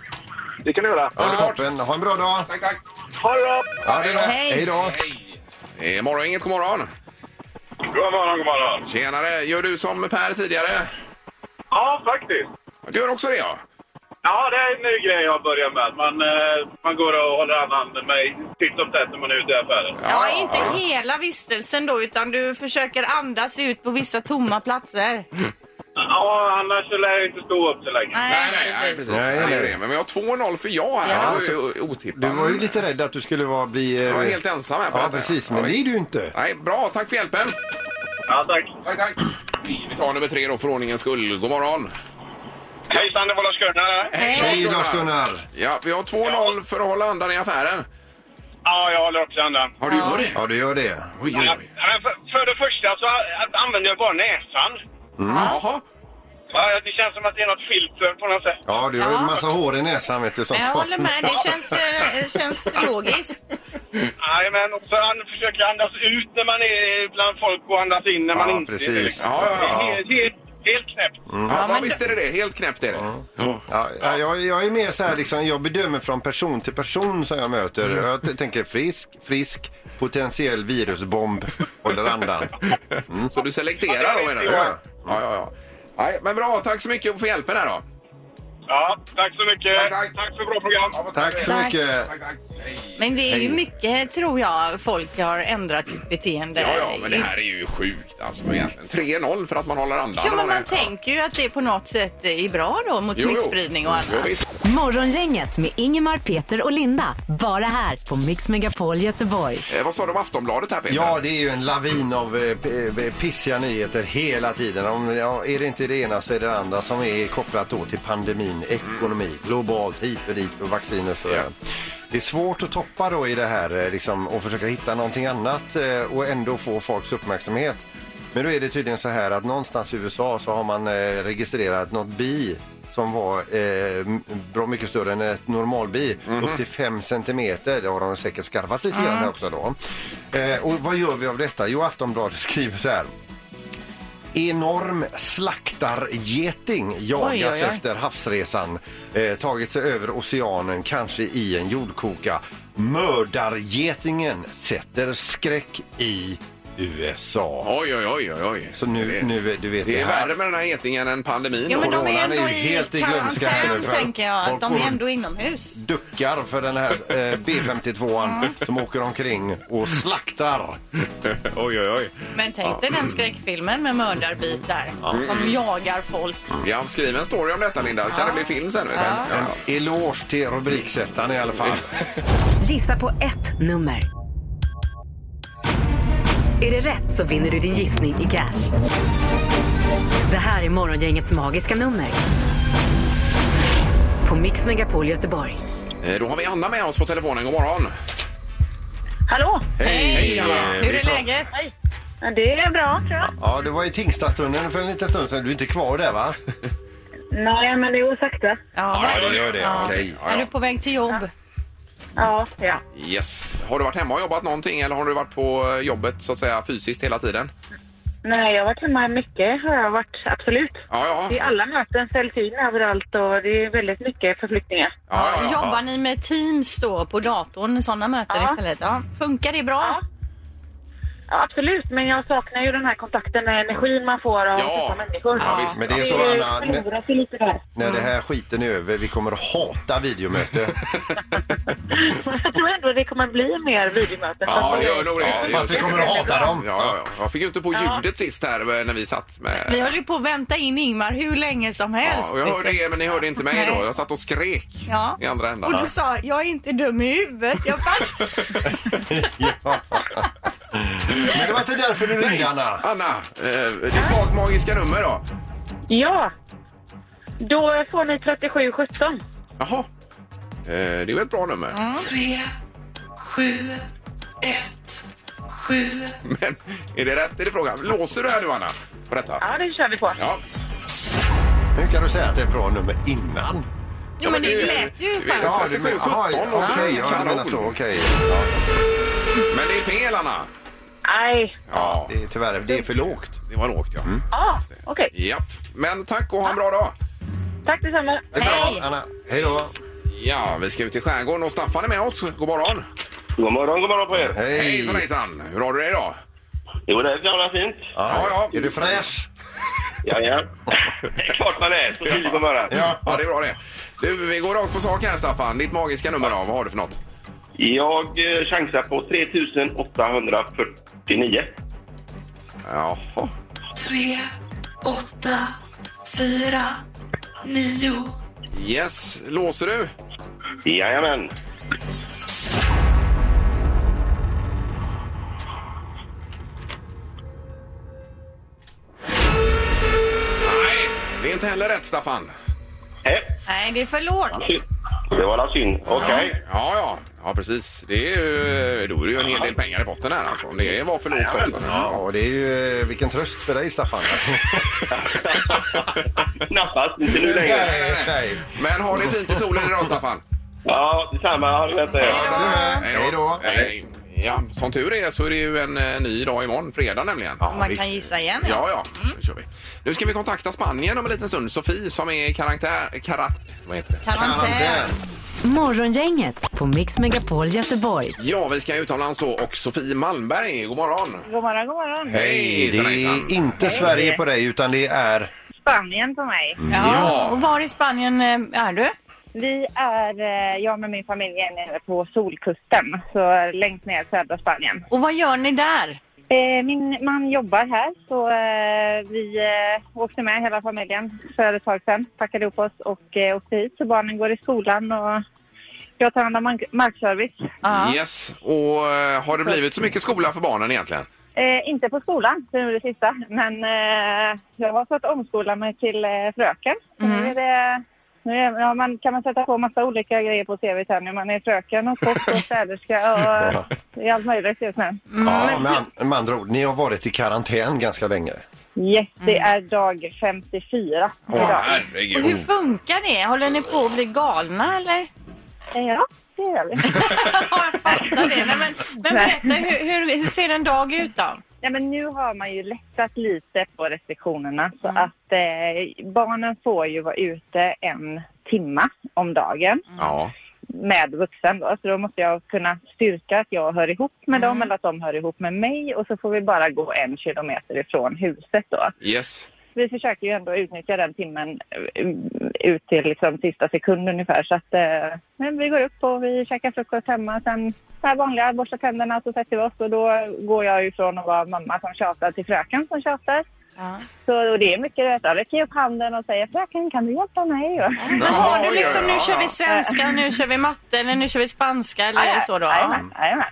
Speaker 5: Det kan du göra.
Speaker 3: Ja, toppen. Ha en bra dag.
Speaker 2: Tack, tack.
Speaker 5: Ha det bra!
Speaker 3: Ja, det är bra.
Speaker 4: Hej.
Speaker 3: Hej då.
Speaker 2: Hej. Eh, morgon, inget god morgon.
Speaker 5: God morgon, god morgon.
Speaker 2: Tjenare. Gör du som Per tidigare?
Speaker 5: Ja, faktiskt.
Speaker 2: Du gör också det, ja.
Speaker 5: Ja, det är en ny grej jag börjar med. Man, eh, man går och håller andan med titt som tätt när man är ute i affären.
Speaker 4: Ja, inte hela vistelsen då utan du försöker andas ut på vissa tomma platser.
Speaker 5: Ja, annars så lär jag inte stå upp så länge.
Speaker 2: Nej, nej, nej, precis.
Speaker 3: Nej,
Speaker 2: Nej,
Speaker 3: nej.
Speaker 2: nej. Men vi har 2-0 för ja här.
Speaker 4: Ja.
Speaker 2: Det var ju otippat.
Speaker 3: Du var ju lite rädd att du skulle vara, bli... eh,
Speaker 2: Jag var helt ensam här på
Speaker 3: Ja,
Speaker 2: detta.
Speaker 3: precis.
Speaker 2: Ja,
Speaker 3: Men det
Speaker 2: visst.
Speaker 3: är du inte.
Speaker 2: Nej, bra. Tack för hjälpen.
Speaker 5: Ja, tack.
Speaker 2: Tack, tack. Vi tar nummer tre då för ordningens skull. God morgon.
Speaker 5: Hejsan, det var Lars-Gunnar här.
Speaker 3: Hej Lars-Gunnar.
Speaker 2: Ja, vi har 2-0 för att hålla andan i affären.
Speaker 5: Ja, jag håller också andan.
Speaker 2: Har du gjort det?
Speaker 3: Ja, du gör det.
Speaker 2: Oj, Mm.
Speaker 5: Ja,
Speaker 2: oj, oj.
Speaker 5: men för, för det första så a- använder jag bara näsan.
Speaker 2: Jaha.
Speaker 5: Ja, det känns som att det är något filter på något sätt.
Speaker 3: Ja, du har en massa hår i näsan vet du. Sånt.
Speaker 4: Jag håller med, det känns, eh, känns logiskt.
Speaker 5: Nej, men också an, försöker andas ut när man är bland folk och andas in när man
Speaker 3: Ja,
Speaker 5: inte är det.
Speaker 3: precis.
Speaker 5: liksom.
Speaker 2: Ja, ja, ja.
Speaker 5: Det är helt- helt, helt knäppt.
Speaker 2: Ja, men visst är det det. Helt knäppt är det. Ja.
Speaker 3: Ja, ja, jag, jag är mer så här liksom, jag bedömer från person till person som jag möter.
Speaker 2: Mm.
Speaker 3: Jag t- tänker frisk, frisk, potentiell virusbomb, håller andan.
Speaker 2: Mm. Så du selekterar då menar du?
Speaker 3: Ja.
Speaker 2: Ja, ja, ja. Nej, men bra. Tack så mycket för hjälpen här då.
Speaker 5: Ja, tack så mycket.
Speaker 2: Tack, tack.
Speaker 5: för bra program.
Speaker 3: Tack så
Speaker 4: Tack.
Speaker 3: mycket.
Speaker 2: Tack, tack. Hej.
Speaker 4: Men det är ju mycket, tror jag, folk har ändrat sitt beteende.
Speaker 2: Ja, ja, men det här är ju sjukt alltså egentligen. 3-0 för att man håller andan.
Speaker 4: Ja, men
Speaker 2: Och det-
Speaker 4: man tänker ju att det på något sätt är bra då mot
Speaker 2: Jo, jo.
Speaker 4: smittspridning och
Speaker 2: Jo,
Speaker 4: annat.
Speaker 2: visst.
Speaker 1: Morgongänget med Ingemar, Peter och Linda. Bara här på Mix Megapol Göteborg.
Speaker 2: Eh, vad sa du om Aftonbladet här Peter?
Speaker 3: Ja, det är ju en lavin av eh, p- eh, pissiga nyheter hela tiden. Om, ja, är det inte det ena så är det det andra som är kopplat då till pandemin, ekonomi, globalt, hit och dit och vaccin och sådär.
Speaker 2: Ja.
Speaker 3: Det är svårt att toppa då i det här eh, liksom, och försöka hitta någonting annat eh, och ändå få folks uppmärksamhet. Men då är det tydligen så här att någonstans i USA så har man eh, registrerat något bi som var eh, m- bra mycket större än ett normalbi, upp till 5 centimeter. Det har de säkert skarvat lite grann här också då. Eh, och vad gör vi av detta? Jo, Aftonbladet <laughs> skriver så här. Enorm slaktargeting jagas
Speaker 4: Oj, oj, oj.
Speaker 3: efter havsresan. Eh, tagit sig över oceanen, kanske i en jordkoka. Mördargetingen sätter skräck i USA.
Speaker 2: Oj, oj, oj, oj, oj.
Speaker 3: Så nu,
Speaker 2: det,
Speaker 3: nu du vet
Speaker 2: det är
Speaker 3: här.
Speaker 2: värre med den här getingen än pandemin.
Speaker 4: Ja, men de
Speaker 3: Coronan
Speaker 4: är
Speaker 3: är
Speaker 4: ändå
Speaker 3: ju
Speaker 4: i
Speaker 3: helt i glömska här nu, för
Speaker 4: karantän, tänker jag.
Speaker 3: folk
Speaker 4: Att de
Speaker 3: går-
Speaker 4: är ändå inomhus.
Speaker 3: duckar för den här eh, B52an som åker omkring och slaktar.
Speaker 2: <laughs> oj, oj, oj.
Speaker 4: Men tänk dig den skräckfilmen med mördarbitar som jagar folk.
Speaker 2: Ja, skriv en story om detta Linda. Kan det bli film sen? vet du? Ja.
Speaker 3: En eloge till rubriksättaren i alla fall.
Speaker 1: Gissa på ett nummer. Är det rätt så vinner du din gissning i cash. Det här är Morgongängets magiska nummer. På Mix Megapol Göteborg.
Speaker 2: Eh, Då har vi Anna med oss på telefonen. God morgon.
Speaker 8: Hallå!
Speaker 3: Hej!
Speaker 2: Anna.
Speaker 4: Hur är läget?
Speaker 8: Ja, Det är bra, tror jag.
Speaker 3: Ja, det var i Tingstadstunneln för en liten stund sedan. Du är inte kvar där va?
Speaker 8: Nej, men det går sakta.
Speaker 4: Ja, vad-
Speaker 3: det gör det.
Speaker 2: Okej, ja,
Speaker 4: är
Speaker 2: ja.
Speaker 4: du på väg till jobb?
Speaker 8: Ja, ja.
Speaker 2: Yes. Har du varit hemma och jobbat någonting eller har du varit på eh, jobbet så att säga fysiskt hela tiden?
Speaker 8: Nej, jag har varit hemma mycket. har jag varit, absolut.
Speaker 2: Ja,
Speaker 8: Det
Speaker 2: ja.
Speaker 8: är alla möten ställs in överallt och det är väldigt mycket förflyttningar.
Speaker 2: ja, ja, ja.
Speaker 4: Jobbar ni med Teams då på datorn, sådana möten
Speaker 8: Ja.
Speaker 4: istället? Ja. Funkar det bra?
Speaker 8: Ja. Ja, absolut, men jag saknar ju den här kontakten med energin man får av
Speaker 2: Ja.
Speaker 8: dessa människor.
Speaker 2: Ja, visst.
Speaker 3: Men det är så,
Speaker 8: Det
Speaker 3: Anna, men-
Speaker 8: förlorar sig lite där. <laughs>
Speaker 3: När det här skiten är över, vi kommer att hata
Speaker 2: <laughs>
Speaker 3: videomöte.
Speaker 8: Jag tror ändå det kommer bli mer
Speaker 2: Ja,
Speaker 8: videomöten. Fast-
Speaker 2: det gör nog det.
Speaker 3: Ja,
Speaker 2: Det
Speaker 3: fast
Speaker 2: gör
Speaker 3: vi kommer
Speaker 2: det.
Speaker 3: att hata dem.
Speaker 2: Ja, ja, ja. Jag fick ju inte på ljudet sist här eh, när vi satt med...
Speaker 4: Vi höll ju på att vänta in Ingmar hur länge som helst.
Speaker 2: Ja, och jag hörde
Speaker 4: vet du.
Speaker 2: er, men ni hörde inte mig då.
Speaker 4: Nej.
Speaker 2: Jag satt och skrek
Speaker 4: Ja.
Speaker 2: i andra
Speaker 4: Och
Speaker 2: änden.
Speaker 4: du sa, jag är inte dum i huvudet. Jag fattar.
Speaker 3: <laughs> Ja. Men det var inte därför du ringde, Anna.
Speaker 2: Anna, eh, ditt mag magiska nummer då?
Speaker 8: Ja. Då får ni 3717.
Speaker 2: Jaha. Eh, det är ju ett bra nummer. <laughs> Men är det rätt? Är det frågan? Låser du här nu, Anna? På detta?
Speaker 8: Ja, det kör vi på.
Speaker 2: Ja.
Speaker 3: Hur kan du säga att det är ett bra nummer innan?
Speaker 4: Jo, men det lät ju
Speaker 2: vi-
Speaker 4: fan.
Speaker 2: Ja, det är
Speaker 3: men-
Speaker 2: 17
Speaker 3: aha,
Speaker 2: och
Speaker 3: Okej, ja, jag
Speaker 2: kanon.
Speaker 3: menar så. Okej.
Speaker 2: Men det är fel, Anna.
Speaker 8: Nej.
Speaker 2: Ja,
Speaker 3: Det är, tyvärr, det är för lågt.
Speaker 2: det var lågt, ja.
Speaker 3: Mm.
Speaker 8: Ja, okej.
Speaker 2: Japp. Men tack och ha en bra dag.
Speaker 8: Tack detsamma.
Speaker 4: Hej!
Speaker 3: Anna, hej då.
Speaker 2: Ja, vi ska ut i skärgården och Staffan är med oss. God morgon.
Speaker 5: God morgon, god morgon på er.
Speaker 3: Hej.
Speaker 2: Hejsan, hejsan. Hur har du det idag?
Speaker 5: Jo, det är gamla fint.
Speaker 2: Ja, ja.
Speaker 3: Är du fräsch?
Speaker 5: <laughs> Jajamän. Det är klart man är. Så tidigt på morgonen.
Speaker 2: Ja. ja, det är bra det. Du, vi går rakt på sak här, Staffan. Ditt magiska nummer då, vad har du för något?
Speaker 5: Jag eh, chansar på 3849.
Speaker 2: Jaha.
Speaker 10: 3, 8, 4, 9.
Speaker 2: Yes, låser du?
Speaker 5: Jajamän.
Speaker 2: Nej, det är inte heller rätt, Staffan.
Speaker 5: Eh,
Speaker 4: Nej, det är för lågt.
Speaker 5: synd. Det var la synd. Okej.
Speaker 2: Ja, ja, ja precis. Det är ju, då är det ju en hel del pengar i potten här alltså. Om det var för lågt också.
Speaker 3: Ja, och det är ju... eh, Vilken tröst för
Speaker 2: <laughs>
Speaker 3: dig, Staffan.
Speaker 5: Knappast. Inte nu längre.
Speaker 3: Nej, nej.
Speaker 2: Men har ni fint i solen idag, Staffan?
Speaker 5: Ja, detsamma. Ha det gött.
Speaker 3: Du med? Hej då.
Speaker 2: Hej. Ja, som tur är så är det ju en eh, ny dag imorgon, fredag nämligen. Ja,
Speaker 4: Man kan gissa igen. ja.
Speaker 2: ja, nu kör vi. Nu ska vi kontakta Spanien om en liten stund. Sofie som är i karaktär... Karat... Vad heter det?
Speaker 4: Karantän.
Speaker 1: Morgongänget på Mix Megapol Göteborg.
Speaker 2: Ja, vi ska utomlands då och Sofie Malmberg, god morgon.
Speaker 8: God morgon, god morgon.
Speaker 2: Hej,
Speaker 3: Det
Speaker 2: hejsan, hejsan.
Speaker 3: är inte Sverige på dig, utan det är...
Speaker 8: Spanien på mig.
Speaker 4: Ja. Och var i Spanien eh, är du?
Speaker 8: Vi är, eh, jag med min familj är nere på Solkusten, så längst ner i södra Spanien.
Speaker 4: Och vad gör ni där?
Speaker 8: Eh, Min man jobbar här, så eh, vi eh, åkte med hela familjen för ett tag sedan. Packade ihop oss och eh, åkte hit, så barnen går i skolan och jag tar hand om mark- markservice.
Speaker 4: Ja.
Speaker 2: Yes, och eh, har det blivit så mycket skola för barnen egentligen?
Speaker 8: Eh, inte på skolan, det är det sista, men eh, jag har fått omskola mig till eh, fröken. Så Nu, är det, nu är, ja, man, kan man sätta på massa olika grejer på tv sen när man är fröken och kock och städerska och det är allt möjligt just nu. Mm.
Speaker 3: Ja, med, an- med andra ord, ni har varit i karantän ganska
Speaker 8: <laughs>
Speaker 3: länge.
Speaker 8: Yes, det är dag 54
Speaker 2: Åh,
Speaker 8: idag.
Speaker 4: Och hur
Speaker 2: herregud.
Speaker 4: funkar det? Håller ni på att bli galna eller?
Speaker 8: Eh, Ja, det gör vi. <laughs>
Speaker 4: <laughs> Ja, jag fattar det. Nej, men, men berätta, hur, hur, hur ser en dag ut då?
Speaker 8: Nej, men nu har man ju lättat lite på restriktionerna så att eh, barnen får ju vara ute en timma om dagen
Speaker 2: Ja.
Speaker 8: med vuxen då. Så då måste jag kunna styrka att jag hör ihop med dem eller att de hör ihop med mig och så får vi bara gå en kilometer ifrån huset då.
Speaker 2: Yes.
Speaker 8: Vi försöker ju ändå utnyttja den timmen eh, ut till liksom sista sekund ungefär så att eh, men vi går upp och vi käkar frukost hemma sen det här vanliga, borsta tänderna och så sätter vi oss och då går jag ju från att vara mamma som tjatar till fröken som tjatar.
Speaker 4: Ja.
Speaker 8: Så och det är mycket rätt. Jag räcker upp handen och säger fröken kan du hjälpa mig? <laughs>
Speaker 4: Men har du liksom,
Speaker 2: ja,
Speaker 4: nu kör vi
Speaker 2: ja.
Speaker 4: svenska, nu kör vi matte eller nu kör vi spanska eller är det så då? Ja.
Speaker 8: Jajamän, jajamän.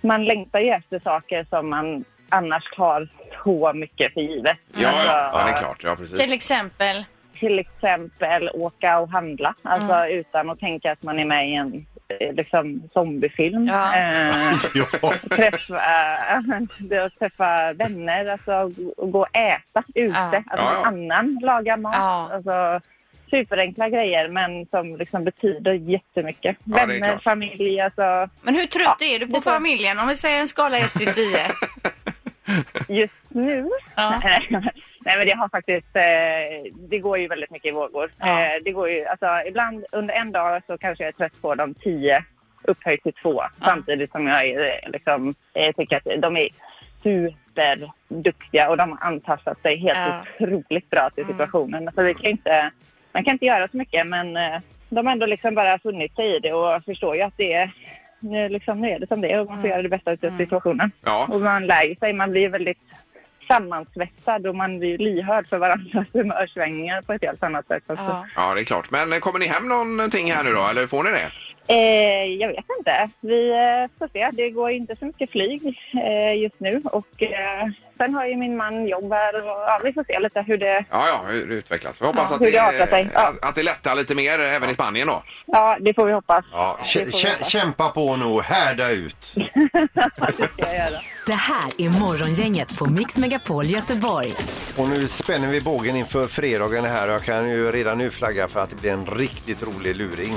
Speaker 8: Man längtar ju efter saker som man annars tar så mycket för givet.
Speaker 2: Ja, ja,
Speaker 8: Alltså,
Speaker 2: ja, det är klart. Ja, precis.
Speaker 4: Till exempel?
Speaker 8: Till exempel åka och handla, alltså
Speaker 4: Mm.
Speaker 8: utan att tänka att man är med i en eh, liksom, zombiefilm.
Speaker 4: Ja.
Speaker 8: Eh,
Speaker 3: Ja.
Speaker 8: träffa, <laughs> det att träffa vänner, alltså gå och äta ute,
Speaker 4: Ja.
Speaker 2: Ja,
Speaker 8: att någon
Speaker 2: ja.
Speaker 8: annan lagar mat.
Speaker 4: Ja.
Speaker 8: Alltså, superenkla grejer men som liksom betyder jättemycket.
Speaker 2: det är
Speaker 8: vänner,
Speaker 2: klart.
Speaker 8: familj, alltså
Speaker 4: Men hur trött
Speaker 8: Ja,
Speaker 4: är du på
Speaker 8: lite.
Speaker 4: familjen om vi säger en skala 1 till 10?
Speaker 8: just nu.
Speaker 4: Ja.
Speaker 8: <laughs> Nej men det har faktiskt, eh, det går ju väldigt mycket i vågor.
Speaker 4: Ja.
Speaker 8: Eh, det går ju, alltså ibland under en dag så kanske jag är trött på de tio upphöjt till två samtidigt som jag är, eh, liksom, eh, tycker att de är superduktiga och de har anpassat sig helt
Speaker 4: Ja. Mm.
Speaker 8: otroligt bra till situationen. Så vi kan inte, man kan inte göra så mycket men eh, de har ändå liksom bara funnit sig i det och förstår ju att det är nu, liksom, nu är det som det är och man
Speaker 4: Mm.
Speaker 8: får göra det bästa av situationen.
Speaker 2: Ja.
Speaker 8: Och man lär ju sig, man blir väldigt sammansvetsad och man blir ju lyhörd för varandras <laughs> humörsvängningar på ett helt annat sätt. Alltså.
Speaker 2: Ja, det är klart. Men eh, kommer ni hem någonting här nu då, eller får ni det?
Speaker 8: Eh, jag vet inte. Vi eh, får se. Det går inte så mycket flyg eh, just nu. Och, eh, sen har ju min man jobb här. Och, ja, vi får se lite hur det...
Speaker 2: Ja, ja, hur det utvecklas. Vi hoppas
Speaker 8: Ja,
Speaker 2: att,
Speaker 8: hur
Speaker 2: det,
Speaker 8: det artar sig. Ja.
Speaker 2: att, att det lättar lite mer eh, även i Spanien då.
Speaker 8: Ja, det får vi hoppas.
Speaker 3: Ja,
Speaker 8: Det
Speaker 3: kä-
Speaker 8: får vi
Speaker 3: kä-
Speaker 8: hoppas.
Speaker 3: kämpa på nu, härda ut.
Speaker 1: Det här är Morgongänget på Mix Megapol Göteborg.
Speaker 3: Och nu spänner vi bågen inför fredagen här och jag kan ju redan nu flagga för att det blir en riktigt rolig luring.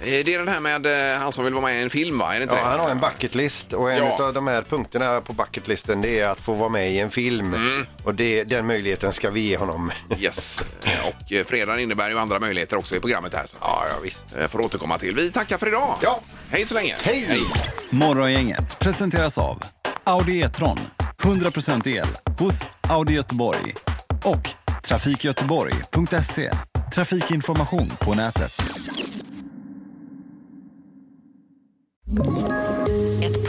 Speaker 2: Eh, Det är den här med eh, han som vill vara med i en film, va? Är det inte
Speaker 3: Ja,
Speaker 2: det?
Speaker 3: han har en bucketlist och en
Speaker 2: Ja.
Speaker 3: av de här punkterna på bucketlisten det är att få vara med i en film.
Speaker 8: Mm.
Speaker 3: Och det, den möjligheten ska vi ge honom.
Speaker 2: Yes. Eh, Och eh, fredagen innebär ju andra möjligheter också i programmet här. Så.
Speaker 3: Ja, ja visst.
Speaker 2: Eh, Får återkomma till. Vi tackar för idag.
Speaker 3: Ja.
Speaker 2: Hej så länge.
Speaker 3: Hej!
Speaker 11: Morgongänget presenteras av Audi E-tron. 100% el hos Audi Göteborg. Och trafikgöteborg.se. Trafikinformation på nätet.
Speaker 1: Ett